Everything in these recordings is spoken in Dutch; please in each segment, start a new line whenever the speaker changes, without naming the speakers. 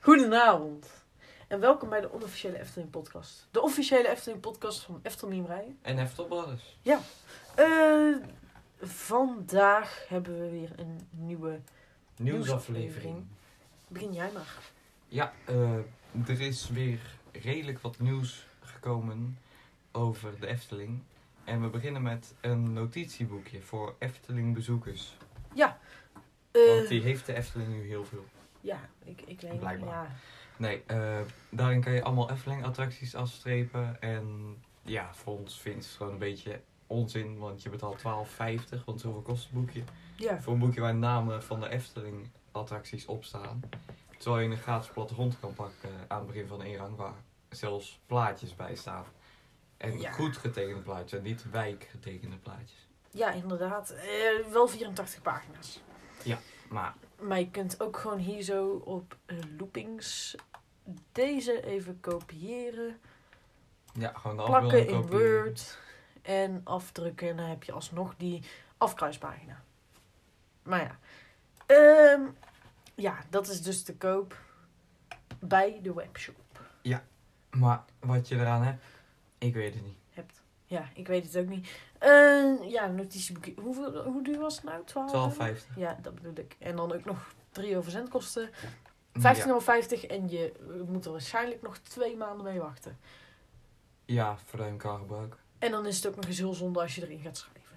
Goedenavond en welkom bij de onofficiële Efteling podcast. De officiële Efteling podcast van Efteling Rijen.
En Heftel Brothers.
Eh vandaag hebben we weer een nieuwe...
Nieuwsaflevering.
Begin jij maar.
Ja, eh, er is weer redelijk wat nieuws gekomen over de Efteling. En we beginnen met een notitieboekje voor Efteling bezoekers.
Eh,
Want die heeft de Efteling nu heel veel.
Ja, ik, ik weet
Blijkbaar.
Ja.
Nee, eh, daarin kan je allemaal Efteling attracties afstrepen. En ja, voor ons vindt het gewoon een beetje onzin. Want je betaalt 12,50, want zoveel kost het boekje.
ja.
Voor een boekje waar namen eh, van de Efteling attracties op staan. Terwijl je een gratis plattegrond kan pakken aan het begin van één rang waar zelfs plaatjes bij staan. En
Ja.
goed getekende plaatjes en niet wijkgetekende plaatjes.
Ja, inderdaad. Eh, wel 84 pagina's.
Maar
Maar je kunt ook gewoon hier zo op eh, loopings deze even kopiëren.
ja, gewoon de
plakken
afbeelding
in
kopiëren.
Word en afdrukken. En dan heb je alsnog die afkruispagina. Maar ja. Ehm, ja, dat is dus te koop bij de webshop.
Maar wat je eraan hebt, ik weet het niet.
Hebt. Ja, ik weet het ook niet. Eh, ja, notitieboekje. Hoeveel, hoe duur was het nou? 12? euro?
12,50.
Ja, dat bedoel ik. En dan ook nog 3 euro verzendkosten. 15,50
Ja,
en je eh, moet er waarschijnlijk nog twee maanden mee wachten.
ja voordat je hem kan gebruiken.
En dan is het ook nog eens heel zonde als je erin gaat schrijven.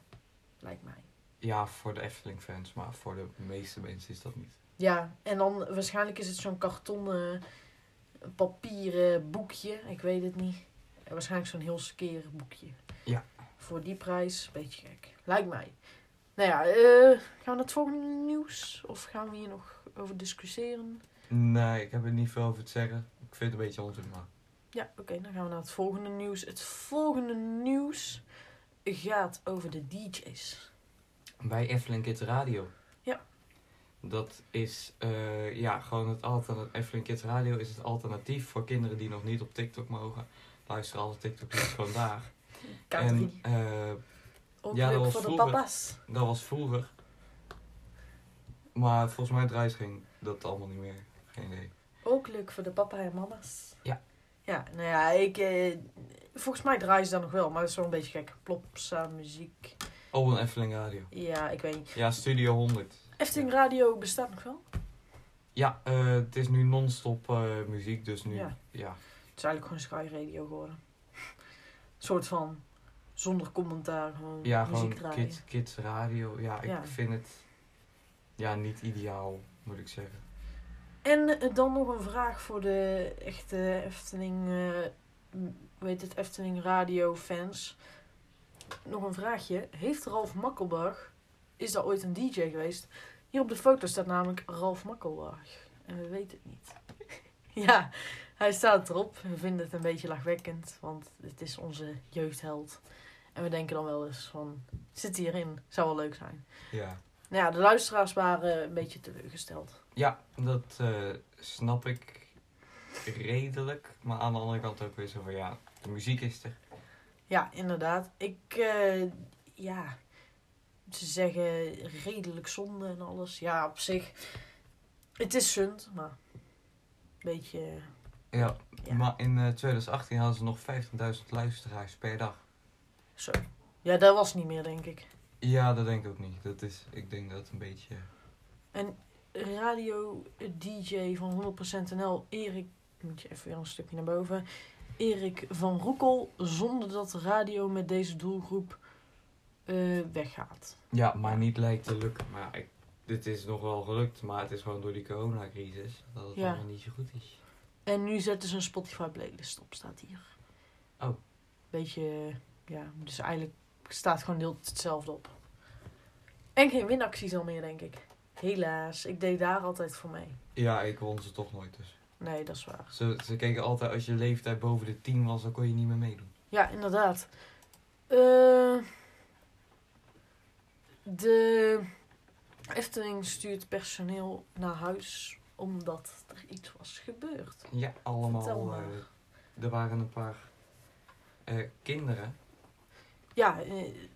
Lijkt mij.
Ja, voor de Efteling fans, maar voor de meeste mensen is dat niet.
Ja, en dan waarschijnlijk is het zo'n kartonnen eh, papieren boekje. Ik weet het niet. En waarschijnlijk zo'n heel skerig boekje.
Ja.
Voor die prijs, een beetje gek. Lijkt mij. Nou ja, eh, gaan we naar het volgende nieuws? Of gaan we hier nog over discussiëren?
Nee, ik heb er niet veel over te zeggen. Ik vind het een beetje onzin, maar...
Ja, oké, dan gaan we naar het volgende nieuws. Het volgende nieuws gaat over de DJ's.
Bij Efteling Kids Radio.
Ja.
Dat is eh, ja, gewoon het alternatief. Efteling Kids Radio is het alternatief voor kinderen die nog niet op TikTok mogen. Luister alle TikTok-liedjes gewoon daar.
K3.
En eh,
Ook
ja, dat
leuk
was
voor de
vroeger.
papa's.
dat was vroeger. Maar volgens mij draait ging dat allemaal niet meer. Geen idee.
Ook leuk voor de papa en mama's.
Ja.
Ja, nou ja, ik... eh, volgens mij draaien ze dan nog wel, maar dat is wel een beetje gek. Plopsa muziek.
Oh, een Efteling Radio.
Ja, ik weet niet.
Ja, Studio 100.
Efteling Radio bestaat nog wel.
Ja, eh, het is nu non-stop eh, muziek, dus nu.
Ja.
Ja.
Het is eigenlijk gewoon Sky Radio geworden. Een soort van zonder commentaar gewoon
Ja,
muziek
gewoon
draaien.
kids, kids radio. Ja, ik
Ja.
vind het ja, niet ideaal, moet ik zeggen.
En eh, dan nog een vraag voor de echte Efteling... eh, m- hoe heet het? Efteling Radio fans. Nog een vraagje. Heeft Ralf Makkelberg... Is daar ooit een DJ geweest? Hier op de foto staat namelijk Ralf Makkelberg. En we weten het niet. ja, hij staat erop. We vinden het een beetje lachwekkend. Want het is onze jeugdheld. En we denken dan wel eens van... Zit hij erin? Zou wel leuk zijn.
Ja.
Nou ja, de luisteraars waren een beetje teleurgesteld.
Ja, dat eh, snap ik redelijk. Maar aan de andere kant ook weer zo van ja, de muziek is er.
Ja, inderdaad. Ik, eh, ja, ze zeggen redelijk zonde en alles. Ja, op zich, het is zund, maar een beetje, eh,
Ja,
Ja.
maar in eh, 2018 hadden ze nog 50.000 luisteraars per dag.
zo. Ja, dat was niet meer, denk ik.
Ja, dat denk ik ook niet. Dat is, ik denk dat het een beetje.
Radio DJ van 100% NL, Erik, moet je even weer een stukje naar boven. Erik van Roekel, zonder dat de radio met deze doelgroep eh, weggaat.
Ja, maar niet lijkt te lukken. Maar ja, ik, dit is nog wel gelukt, maar het is gewoon door die coronacrisis dat het
Ja.
allemaal niet zo goed is.
En nu zetten ze een Spotify playlist op, staat hier.
Oh.
Beetje, ja, dus eigenlijk staat gewoon heel hetzelfde op. En geen winacties al meer, denk ik. Helaas, ik deed daar altijd voor mee.
Ja, ik won ze toch nooit dus.
Nee, dat is waar.
Ze, ze keken altijd, als je leeftijd boven de 10 was, dan kon je niet meer meedoen.
Ja, inderdaad. Eh, de Efteling stuurt personeel naar huis omdat er iets was gebeurd.
Ja, allemaal.
Vertel maar.
eh, er waren een paar eh, kinderen
Ja, eh,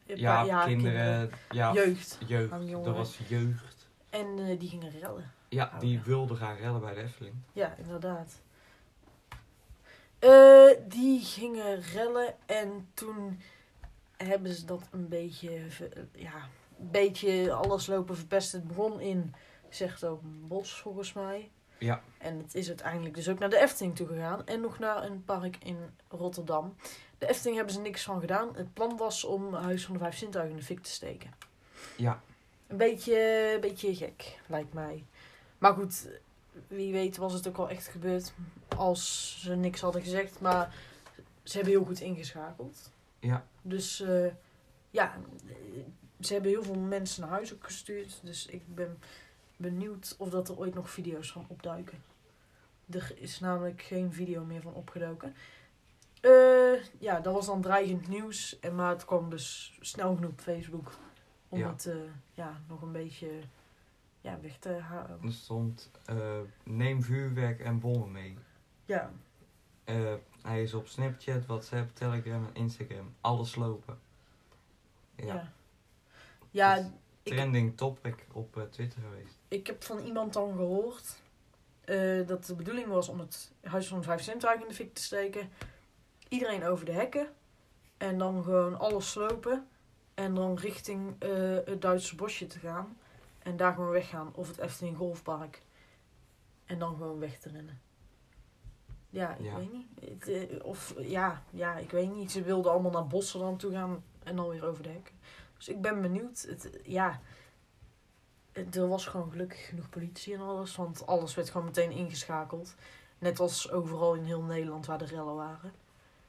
een
Ja,
paar-
kinderen, ja,
Jeugd.
jeugd.
Aan jongeren.
Dat was jeugd.
En eh, die gingen rellen.
Ja,
houden.
die wilde gaan rellen bij de Efteling.
Ja, inderdaad. Eh, die gingen rellen en toen hebben ze dat een beetje, ver- ja, een beetje alles lopen verpest. Het begon in, zegt ook Bos volgens mij.
Ja.
En het is uiteindelijk dus ook naar de Efteling toe gegaan en nog naar een park in Rotterdam. De Efteling hebben ze niks van gedaan. Het plan was om Huis van de Vijf Sintuigen in de fik te steken.
Ja.
Een beetje, een beetje gek, lijkt mij. Maar goed, wie weet was het ook al echt gebeurd als ze niks hadden gezegd. Maar ze hebben heel goed ingeschakeld.
Ja.
Dus eh, ja, ze hebben heel veel mensen naar huis ook gestuurd. Dus ik ben benieuwd of dat er ooit nog video's van opduiken. Er is namelijk geen video meer van opgedoken. Eh, ja, dat was dan dreigend nieuws. En maar het kwam dus snel genoeg op Facebook. Om
Ja.
het eh, ja, nog een beetje ja, weg te halen.
Er stond, eh, neem vuurwerk en bommen mee.
Ja,
Eh, hij is op Snapchat, WhatsApp, Telegram en Instagram. Alles lopen. Ja.
ja. Ja,
Dus
ik-
Trending topic op eh, Twitter geweest.
ik heb van iemand dan gehoord eh, dat de bedoeling was om het huis van de vijf centraal in de fik te steken. Iedereen over de hekken. En dan gewoon alles slopen. En dan richting eh, het Duitse bosje te gaan. En daar gewoon weggaan. Of het Efteling Golfpark. En dan gewoon weg te rennen. Ja, ik
Ja.
weet niet. Het, eh, of ja, ja, ik weet niet. Ze wilden allemaal naar Bosseland toe gaan. En dan weer over de hekken. Dus ik ben benieuwd. Het, eh, ja, het- er was gewoon gelukkig genoeg politie en alles. Want alles werd gewoon meteen ingeschakeld. Net als overal in heel Nederland waar de rellen waren.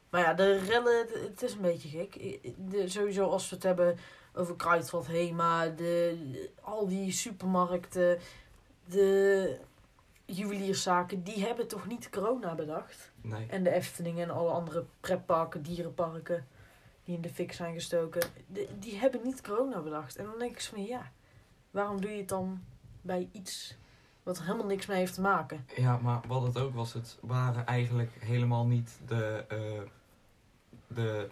Maar ja, de rellen, d- het is een beetje gek. I- i- de- sowieso als we het hebben over Kruidvat, Hema, de, de- al die supermarkten, de juwelierszaken, die hebben toch niet corona bedacht?
Nee.
En de Efteling en alle andere pretparken, dierenparken die in de fik zijn gestoken, de- die hebben niet corona bedacht. En dan denk ik zo van ja, waarom doe je het dan bij iets wat er helemaal niks mee heeft te maken?
Ja, maar wat het ook was, het waren eigenlijk helemaal niet de, eh, de,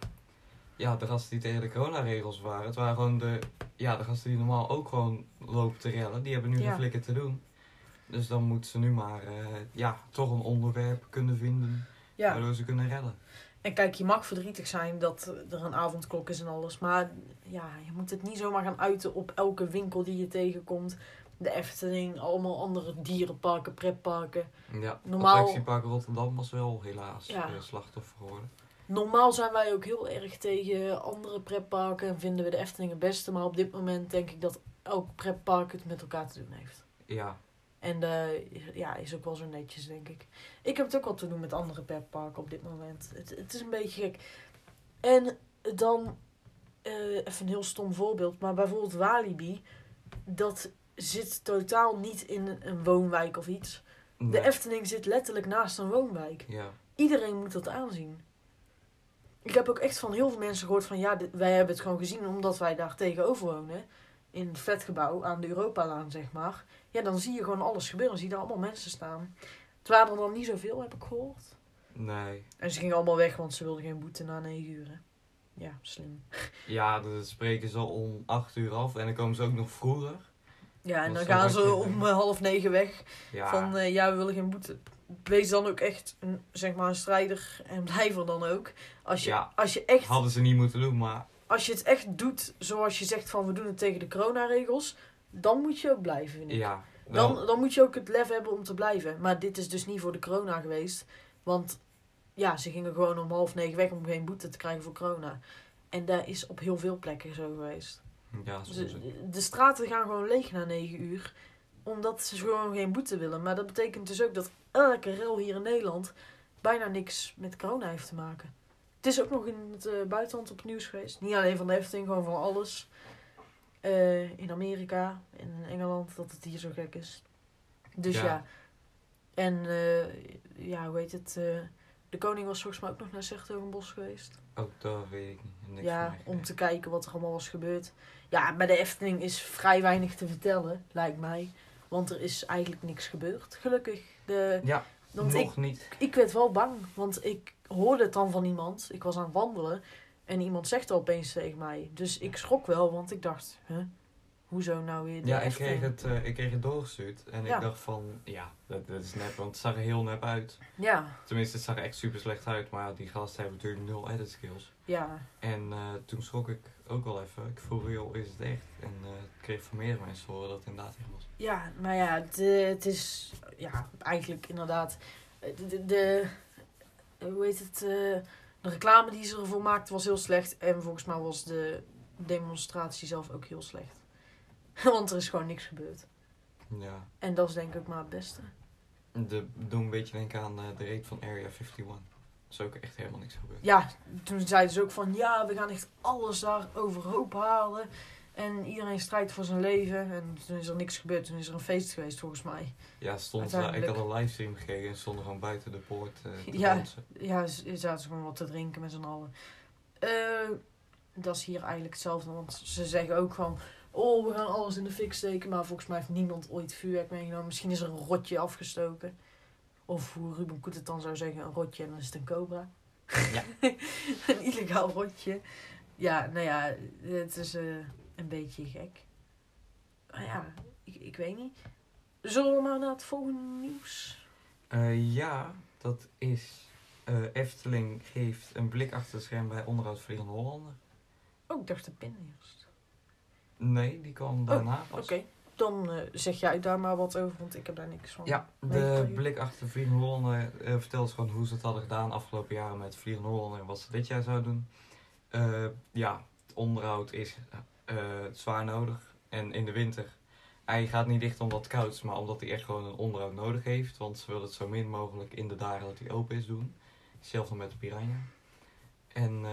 ja, de gasten die tegen de coronaregels waren. Het waren gewoon de, ja, de gasten die normaal ook gewoon lopen te rellen. Die hebben nu
Ja.
geen flikker te doen. Dus dan moeten ze nu maar eh, ja, toch een onderwerp kunnen vinden
Ja.
waardoor ze kunnen rellen.
En kijk, je mag verdrietig zijn dat er een avondklok is en alles. Maar ja, je moet het niet zomaar gaan uiten op elke winkel die je tegenkomt. De Efteling, allemaal andere dierenparken, pretparken.
Ja,
Normaal-
attractiepark Rotterdam was wel helaas
Ja.
eh, slachtoffer geworden.
Normaal zijn wij ook heel erg tegen andere pretparken en vinden we de Efteling het beste. Maar op dit moment denk ik dat elk pretpark het met elkaar te doen heeft.
Ja,
En eh, ja, is ook wel zo netjes, denk ik. Ik heb het ook al te doen met andere petparken op dit moment. Het, het is een beetje gek. En dan, eh, even een heel stom voorbeeld, maar bijvoorbeeld Walibi, dat zit totaal niet in een woonwijk of iets. De
nee.
Efteling zit letterlijk naast een woonwijk.
ja,
Iedereen moet dat aanzien. Ik heb ook echt van heel veel mensen gehoord van ja, dit- wij hebben het gewoon gezien omdat wij daar tegenover wonen. In het vetgebouw aan de Europalaan, zeg maar. Ja, dan zie je gewoon alles gebeuren. Dan zie je daar allemaal mensen staan. Het waren er dan niet zoveel, heb ik gehoord.
nee.
En ze gingen allemaal weg, want ze wilden geen boete na negen uur. hè. Ja, slim.
Ja, dat spreken ze al om acht uur af en dan komen ze ook nog vroeger.
Ja, en
Dat
dan
is wel
gaan
wat
ze
je
om
denkt.
eh, half negen weg.
Ja.
Van eh, ja, we willen geen boete. Wees dan ook echt een, zeg maar een strijder en blijf er dan ook. Als je,
Ja.
als je echt
Hadden ze niet moeten doen, maar
als je het echt doet zoals je zegt van we doen het tegen de coronaregels, dan moet je ook blijven. vind ik.
ja. wel-
dan, dan moet je ook het lef hebben om te blijven. Maar dit is dus niet voor de corona geweest. Want ja, ze gingen gewoon om half negen weg om geen boete te krijgen voor corona. En daar is op heel veel plekken zo geweest.
ja, soms ook.
Dus De, de straten gaan gewoon leeg na negen uur. Omdat ze gewoon geen boete willen. Maar dat betekent dus ook dat elke rel hier in Nederland bijna niks met corona heeft te maken. Het is ook nog in het eh, buitenland op het nieuws geweest. Niet alleen van de Efteling, gewoon van alles. Eh, in Amerika, in Engeland, dat het hier zo gek is. Dus ja.
Ja.
En eh, ja, hoe heet het? eh, de koning was volgens mij ook nog naar Sertogenbosch geweest.
Ook Oh, dat weet ik niet. Niks
ja,
van echt.
om te kijken wat er allemaal was gebeurd. Ja, bij de Efteling is vrij weinig te vertellen, lijkt mij. Want er is eigenlijk niks gebeurd, gelukkig. De,
Ja,
want ik,
nog niet.
ik werd wel bang, want ik hoorde het dan van iemand. Ik was aan het wandelen en iemand zegt opeens tegen mij. Dus ik schrok wel, want ik dacht, huh? Hoezo nou weer de
Ja, ik
Efteling?
kreeg, het, eh, ik kreeg het doorgestuurd. En
Ja.
ik dacht van, ja, dat, dat is nep, want het zag er heel nep uit.
Ja,
Tenminste, het zag er echt super slecht uit, maar die gasten hebben natuurlijk nul edit skills.
ja.
En eh, toen schrok ik ook wel even. Ik vroeg, joh, is het echt? En eh, ik kreeg van meerdere mensen te horen dat het inderdaad echt was.
Ja, nou ja, het, eh, het is ja, eigenlijk inderdaad. eh, De, de, de- hoe heet het? eh, de reclame die ze ervoor maakten was heel slecht. En volgens mij was de demonstratie zelf ook heel slecht. Want er is gewoon niks gebeurd.
Ja,
En dat is denk ik maar het beste.
de, doe een beetje denken aan eh, de raid van Area 51. Dat is ook echt helemaal niks gebeurd.
Ja, toen zeiden ze ook van ja, we gaan echt alles daar overhoop halen. En iedereen strijdt voor zijn leven. En toen is er niks gebeurd. Toen is er een feest geweest volgens mij.
Ja, stond, daar- ik had een livestream gekregen en stonden gewoon buiten de poort eh, te
Ja.
dansen.
Ja, ze zaten gewoon wat te drinken met z'n allen. Eh, dat is hier eigenlijk hetzelfde, want ze zeggen ook gewoon... Oh, we gaan alles in de fik steken, maar volgens mij heeft niemand ooit vuurwerk meegenomen. Misschien is er een rotje afgestoken. Of hoe Ruben Koet het dan zou zeggen, een rotje en dan is het een cobra.
Ja.
een illegaal rotje. Ja, nou ja, het is eh, een beetje gek. Maar ja, ik, ik weet niet. Zullen we maar naar het volgende nieuws?
Eh, ja, dat is. eh, Efteling geeft een blik achter het scherm bij Onderhoud Vliegende Hollander.
Oh, ik dacht de pin eerst.
Nee, die kwam daarna pas.
Oké, dan eh, zeg jij daar maar wat over, want ik heb daar niks van.
Ja,
Weet
de
je-
blik achter Vliegende Hollander eh, vertelt gewoon hoe ze het hadden gedaan afgelopen jaren met Vliegende Hollander en wat ze dit jaar zouden doen. Eh, ja, het onderhoud is eh, zwaar nodig. En in de winter, hij gaat niet dicht omdat het koud is, maar omdat hij echt gewoon een onderhoud nodig heeft. Want ze willen het zo min mogelijk in de dagen dat hij open is doen. Hetzelfde met de Piranha. En eh,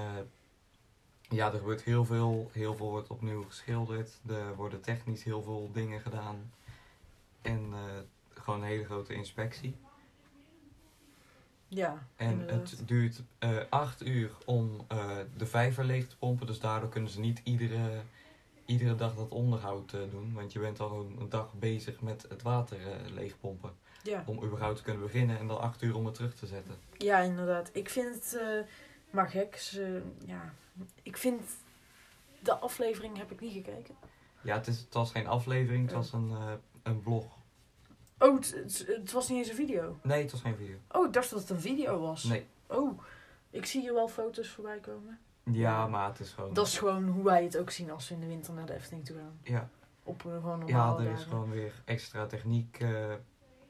ja, er gebeurt heel veel. Heel veel wordt opnieuw geschilderd. Er worden technisch heel veel dingen gedaan. En eh, gewoon een hele grote inspectie.
Ja,
En
inderdaad.
het duurt eh, acht uur om eh, de vijver leeg te pompen. Dus daardoor kunnen ze niet iedere, iedere dag dat onderhoud eh, doen. Want je bent al een, een dag bezig met het water eh, leegpompen.
Ja.
Om überhaupt te kunnen beginnen. En dan acht uur om het terug te zetten.
ja, inderdaad. Ik vind het eh, maar gek. Ze, ja. Ik vind de aflevering heb ik niet gekeken.
Ja, het, is, het was geen aflevering. Het
Ja.
was een, eh, een blog.
Oh, het, het- het was niet eens een video.
Nee, het was geen video.
Oh, ik dacht dat het een video was.
Nee.
Oh, ik zie hier wel foto's voorbij komen.
Ja, maar het is gewoon...
Dat is gewoon hoe wij het ook zien als we in de winter naar de Efteling toe gaan.
Ja,
Op een gewoon
ja
normale
er is
dagen.
gewoon weer extra techniek, eh,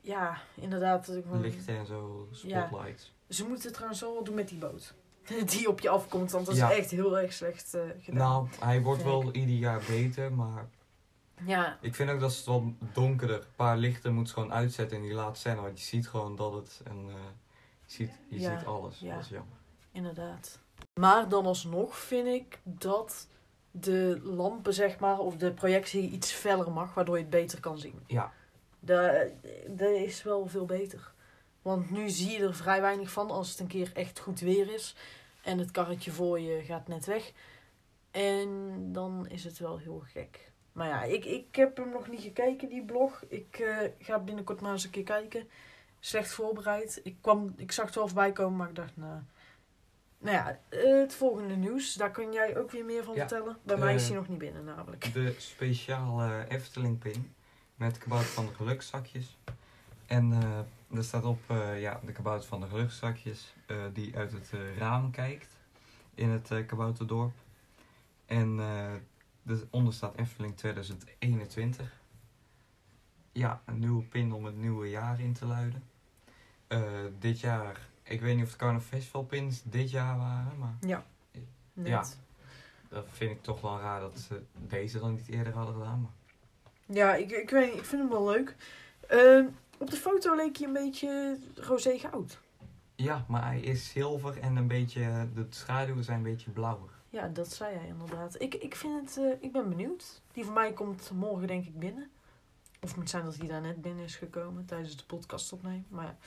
Ja, inderdaad. dat ik gewoon-
lichten en zo,
Ja.
spotlights.
Ze moeten trouwens wel wat doen met die boot. Die op je afkomt, want dat
Ja.
is echt heel erg slecht eh, gedaan.
Nou, hij wordt
Vind ik.
wel ieder jaar beter, maar
Ja,
ik vind ook dat ze het wel donkerder, een paar lichten moet ze gewoon uitzetten in die laatste scène, want je ziet gewoon dat het, en eh, je, ziet, je
Ja,
ziet alles,
ja.
dat is jammer.
inderdaad. Maar dan alsnog vind ik dat de lampen, zeg maar, of de projectie iets feller mag, waardoor je het beter kan zien.
Ja.
Dat, eh, dat is wel veel beter. Want nu zie je er vrij weinig van als het een keer echt goed weer is. En het karretje voor je gaat net weg. En dan is het wel heel gek. Maar ja, ik, ik heb hem nog niet gekeken, die blog. Ik eh, ga binnenkort maar eens een keer kijken. Slecht voorbereid. Ik, kwam, ik zag het wel voorbij komen, maar ik dacht, nou... Nou ja, eh, het volgende nieuws. Daar kun jij ook weer meer van
Ja,
vertellen. Bij mij is
eh,
hij nog niet binnen, namelijk.
De speciale Efteling pin met kabouter van de gelukzakjes. En eh er staat op eh, ja, de kabouter van de gelukzakjes eh, die uit het eh, raam kijkt in het eh, kabouterdorp. En eh onder staat Efteling 2021. Ja, een nieuwe pin om het nieuwe jaar in te luiden. Eh, dit jaar, ik weet niet of de Carnival Festival pins dit jaar waren, maar
Net.
ja. dat vind ik toch wel raar dat ze deze dan niet eerder hadden gedaan. Maar...
Ja, ik, ik weet niet, ik vind hem wel leuk. Ehm, op de foto leek hij een beetje roze goud.
Ja, maar hij is zilver en een beetje, de schaduwen zijn een beetje blauwer.
Ja, dat zei hij inderdaad. Ik, ik vind het, eh, ik ben benieuwd. Die van mij komt morgen denk ik binnen. Of het moet zijn dat hij daar net binnen is gekomen tijdens de podcast opnemen. Maar ja,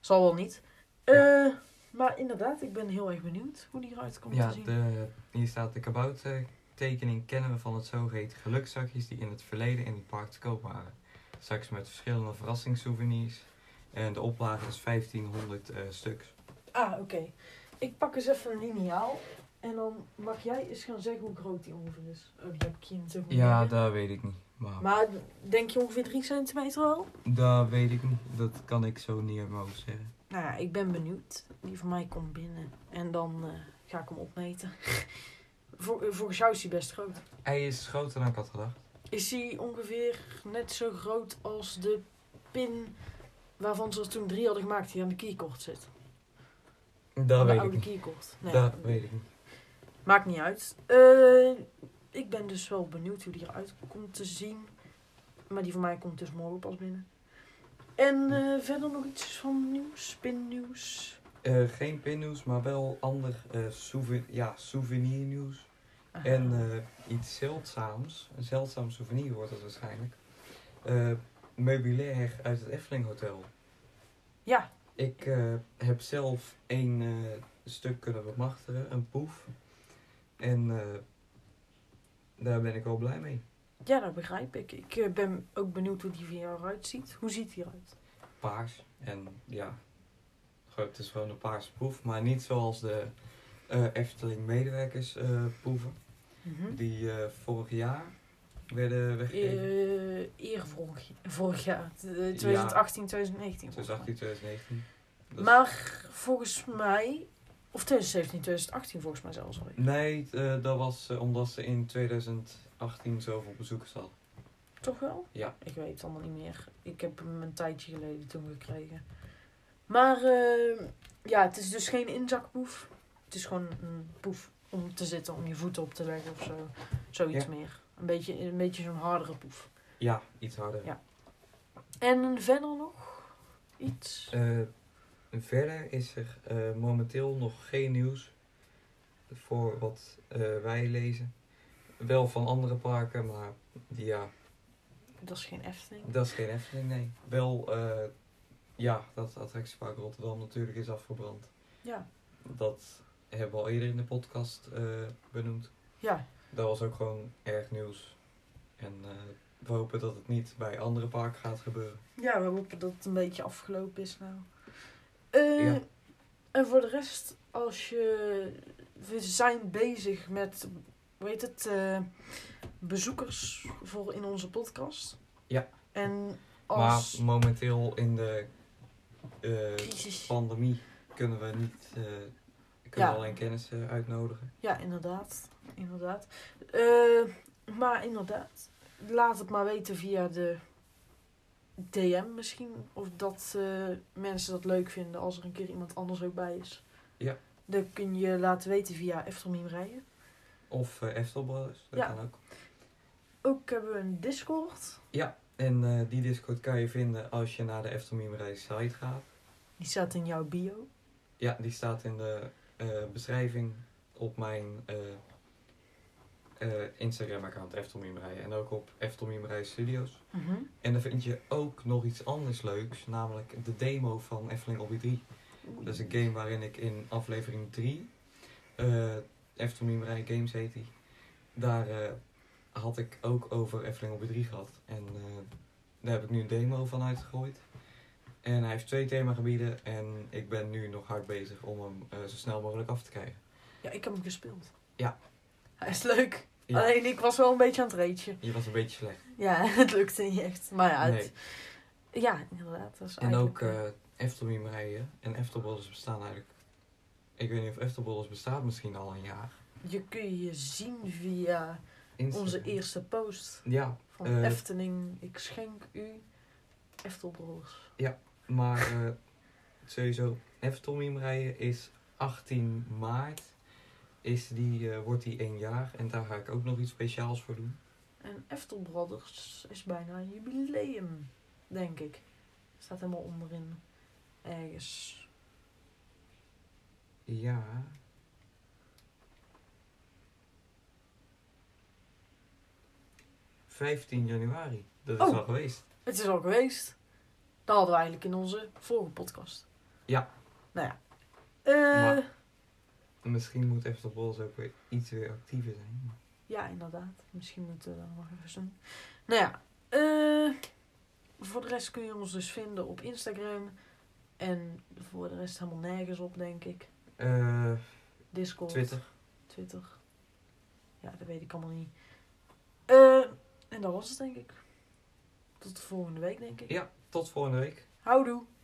zal wel niet. Eh, Maar inderdaad, ik ben heel erg benieuwd hoe die eruit komt
ja,
te zien.
de, hier staat de kaboutertekening kennen we van het zogeheten gelukzakjes die in het verleden in het park te koop waren. Straks met verschillende verrassingssouvenirs. En de oplage is 1500 eh, stuks.
Ah, oké. Ik pak eens even een liniaal. En dan mag jij eens gaan zeggen hoe groot die ongeveer is. Oh, die heb ik hier natuurlijk niet liggen.
dat weet ik niet. Maar
Maar denk je ongeveer 3 centimeter al?
dat weet ik niet. Dat kan ik zo niet uit mijn hoofd zeggen.
Nou ja, ik ben benieuwd. Die van mij komt binnen. En dan eh, ga ik hem opmeten. Vol- eh, volgens jou is hij best groot.
Hij is groter dan ik had gedacht.
Is hij ongeveer net zo groot als de pin waarvan ze er toen drie hadden gemaakt die aan de keycord zit?
Dat
aan Oh, de
weet ik
oude
niet.
keycord.
Dat weet ik niet.
Maakt niet uit. Eh, ik ben dus wel benieuwd hoe die eruit komt te zien. Maar die van mij komt dus morgen pas binnen. En eh, verder nog iets van nieuws, pinnieuws.
Eh, geen pinnieuws, maar wel ander eh souvenir, ja, souvenirnieuws. En eh, iets zeldzaams, een zeldzaam souvenir wordt het waarschijnlijk. Eh, meubilair uit het Efteling Hotel.
Ja.
Ik eh, heb zelf één eh, stuk kunnen bemachtigen, een poef. En eh, daar ben ik wel blij mee.
Ja, dat begrijp ik. Ik eh, ben ook benieuwd hoe die van jou eruit ziet. Hoe ziet die eruit?
Paars. En ja, gewoon- het is gewoon een paarse poef, maar niet zoals de eh, Efteling medewerkers eh, poeven. Die eh, vorig jaar werden weggegeven.
Eh, eer vorig, vorig jaar, t- eh, 2018, 2019. volgens mij.
2018, 2019. Dat is-
Maar volgens mij, of 2017, 2018 volgens mij zelfs al.
Nee, eh, dat was eh, omdat ze in 2018 zoveel bezoekers had.
Toch wel?
Ja.
Ik weet het allemaal niet meer. Ik heb hem een tijdje geleden toen gekregen. Maar eh, ja, het is dus geen inzakpoef. Het is gewoon een poef om te zitten, om je voeten op te leggen of zo. Zoiets
Ja.
meer. Een beetje, een beetje zo'n hardere poef.
Ja, iets harder.
Ja. En verder nog iets?
Eh, verder is er eh, momenteel nog geen nieuws voor wat eh, wij lezen. Wel van andere parken, maar die, ja,
Dat is geen Efteling.
dat is geen Efteling, nee. Wel, eh, ja, dat attractiepark Rotterdam natuurlijk is afgebrand.
Ja.
Dat hebben we al eerder in de podcast eh, benoemd.
Ja.
Dat was ook gewoon erg nieuws. En eh, we hopen dat het niet bij andere parken gaat gebeuren.
Ja, we hopen dat het een beetje afgelopen is nou. Eh,
Ja.
En voor de rest, als je... We zijn bezig met, hoe heet het, eh, bezoekers voor in onze podcast.
Ja.
En als...
Maar momenteel in de eh,
Crisis.
pandemie kunnen we niet eh, kunnen
Ja.
we alleen kennis eh, uitnodigen.
Ja, inderdaad. Inderdaad. Eh, maar inderdaad, laat het maar weten via de DM misschien. Of dat eh, mensen dat leuk vinden als er een keer iemand anders ook bij is.
Ja.
Dat kun je laten weten via Eftelmiem Rijen.
Of eh Eftel Brothers, dat
Ja.
kan ook.
Ook hebben we een Discord.
En eh, die Discord kan je vinden als je naar de Eftel Mimerijs site gaat.
Die staat in jouw bio.
Ja, die staat in de eh, beschrijving op mijn eh, eh, Instagram-account Eftel Mimerijs. En ook op Eftel Mimerijs Studios. En dan vind je ook nog iets anders leuks, namelijk de demo van Efteling Obi 3. Dat is een game waarin ik in aflevering 3, eh Efteling Mimerij Games heet die, daar eh, had ik ook over Efteling Obi 3 gehad. En eh, daar heb ik nu een demo van uitgegooid. En hij heeft twee themagebieden en ik ben nu nog hard bezig om hem eh, zo snel mogelijk af te krijgen.
Ja, ik heb hem gespeeld.
Ja.
Hij is leuk.
Ja,
Alleen ik was wel een beetje aan het reetje.
je was een beetje slecht.
Ja, het lukte niet echt. Maar ja,
Nee.
het- Oh, ja inderdaad. Dat is
En ook
eigenlijk-
eh Eftelmimerijen en Eftelbollers bestaan eigenlijk... Ik weet niet of Eftelbollers bestaat misschien al een jaar.
Je kun je zien via
Instagram.
onze eerste post
Ja,
van
Eh.
Efteling. Ik schenk u Eftelbroers.
Maar eh, sowieso, Heftelmiem rijden is 18 maart. Is die, eh, wordt die één jaar en daar ga ik ook nog iets speciaals voor doen.
En Eftelbrothers is bijna een jubileum, denk ik. Staat helemaal onderin. Ergens.
Ja. ...15 januari. Dat is
Oh.
al geweest.
Het is al geweest. Dat hadden we eigenlijk in onze vorige podcast.
Ja.
Nou ja. Eh,
Maar- Misschien moet Eftelbols ook weer iets weer actiever zijn.
Ja, inderdaad. Misschien moeten we dat nog even doen. Nou ja. eh, voor de rest kun je ons dus vinden op Instagram. En voor de rest helemaal nergens op, denk ik.
Eh,
Discord.
Twitter.
Twitter. Ja, dat weet ik allemaal niet. Eh, En dat was het, denk ik. Tot de volgende week, denk ik.
Ja, tot volgende week.
Houdoe!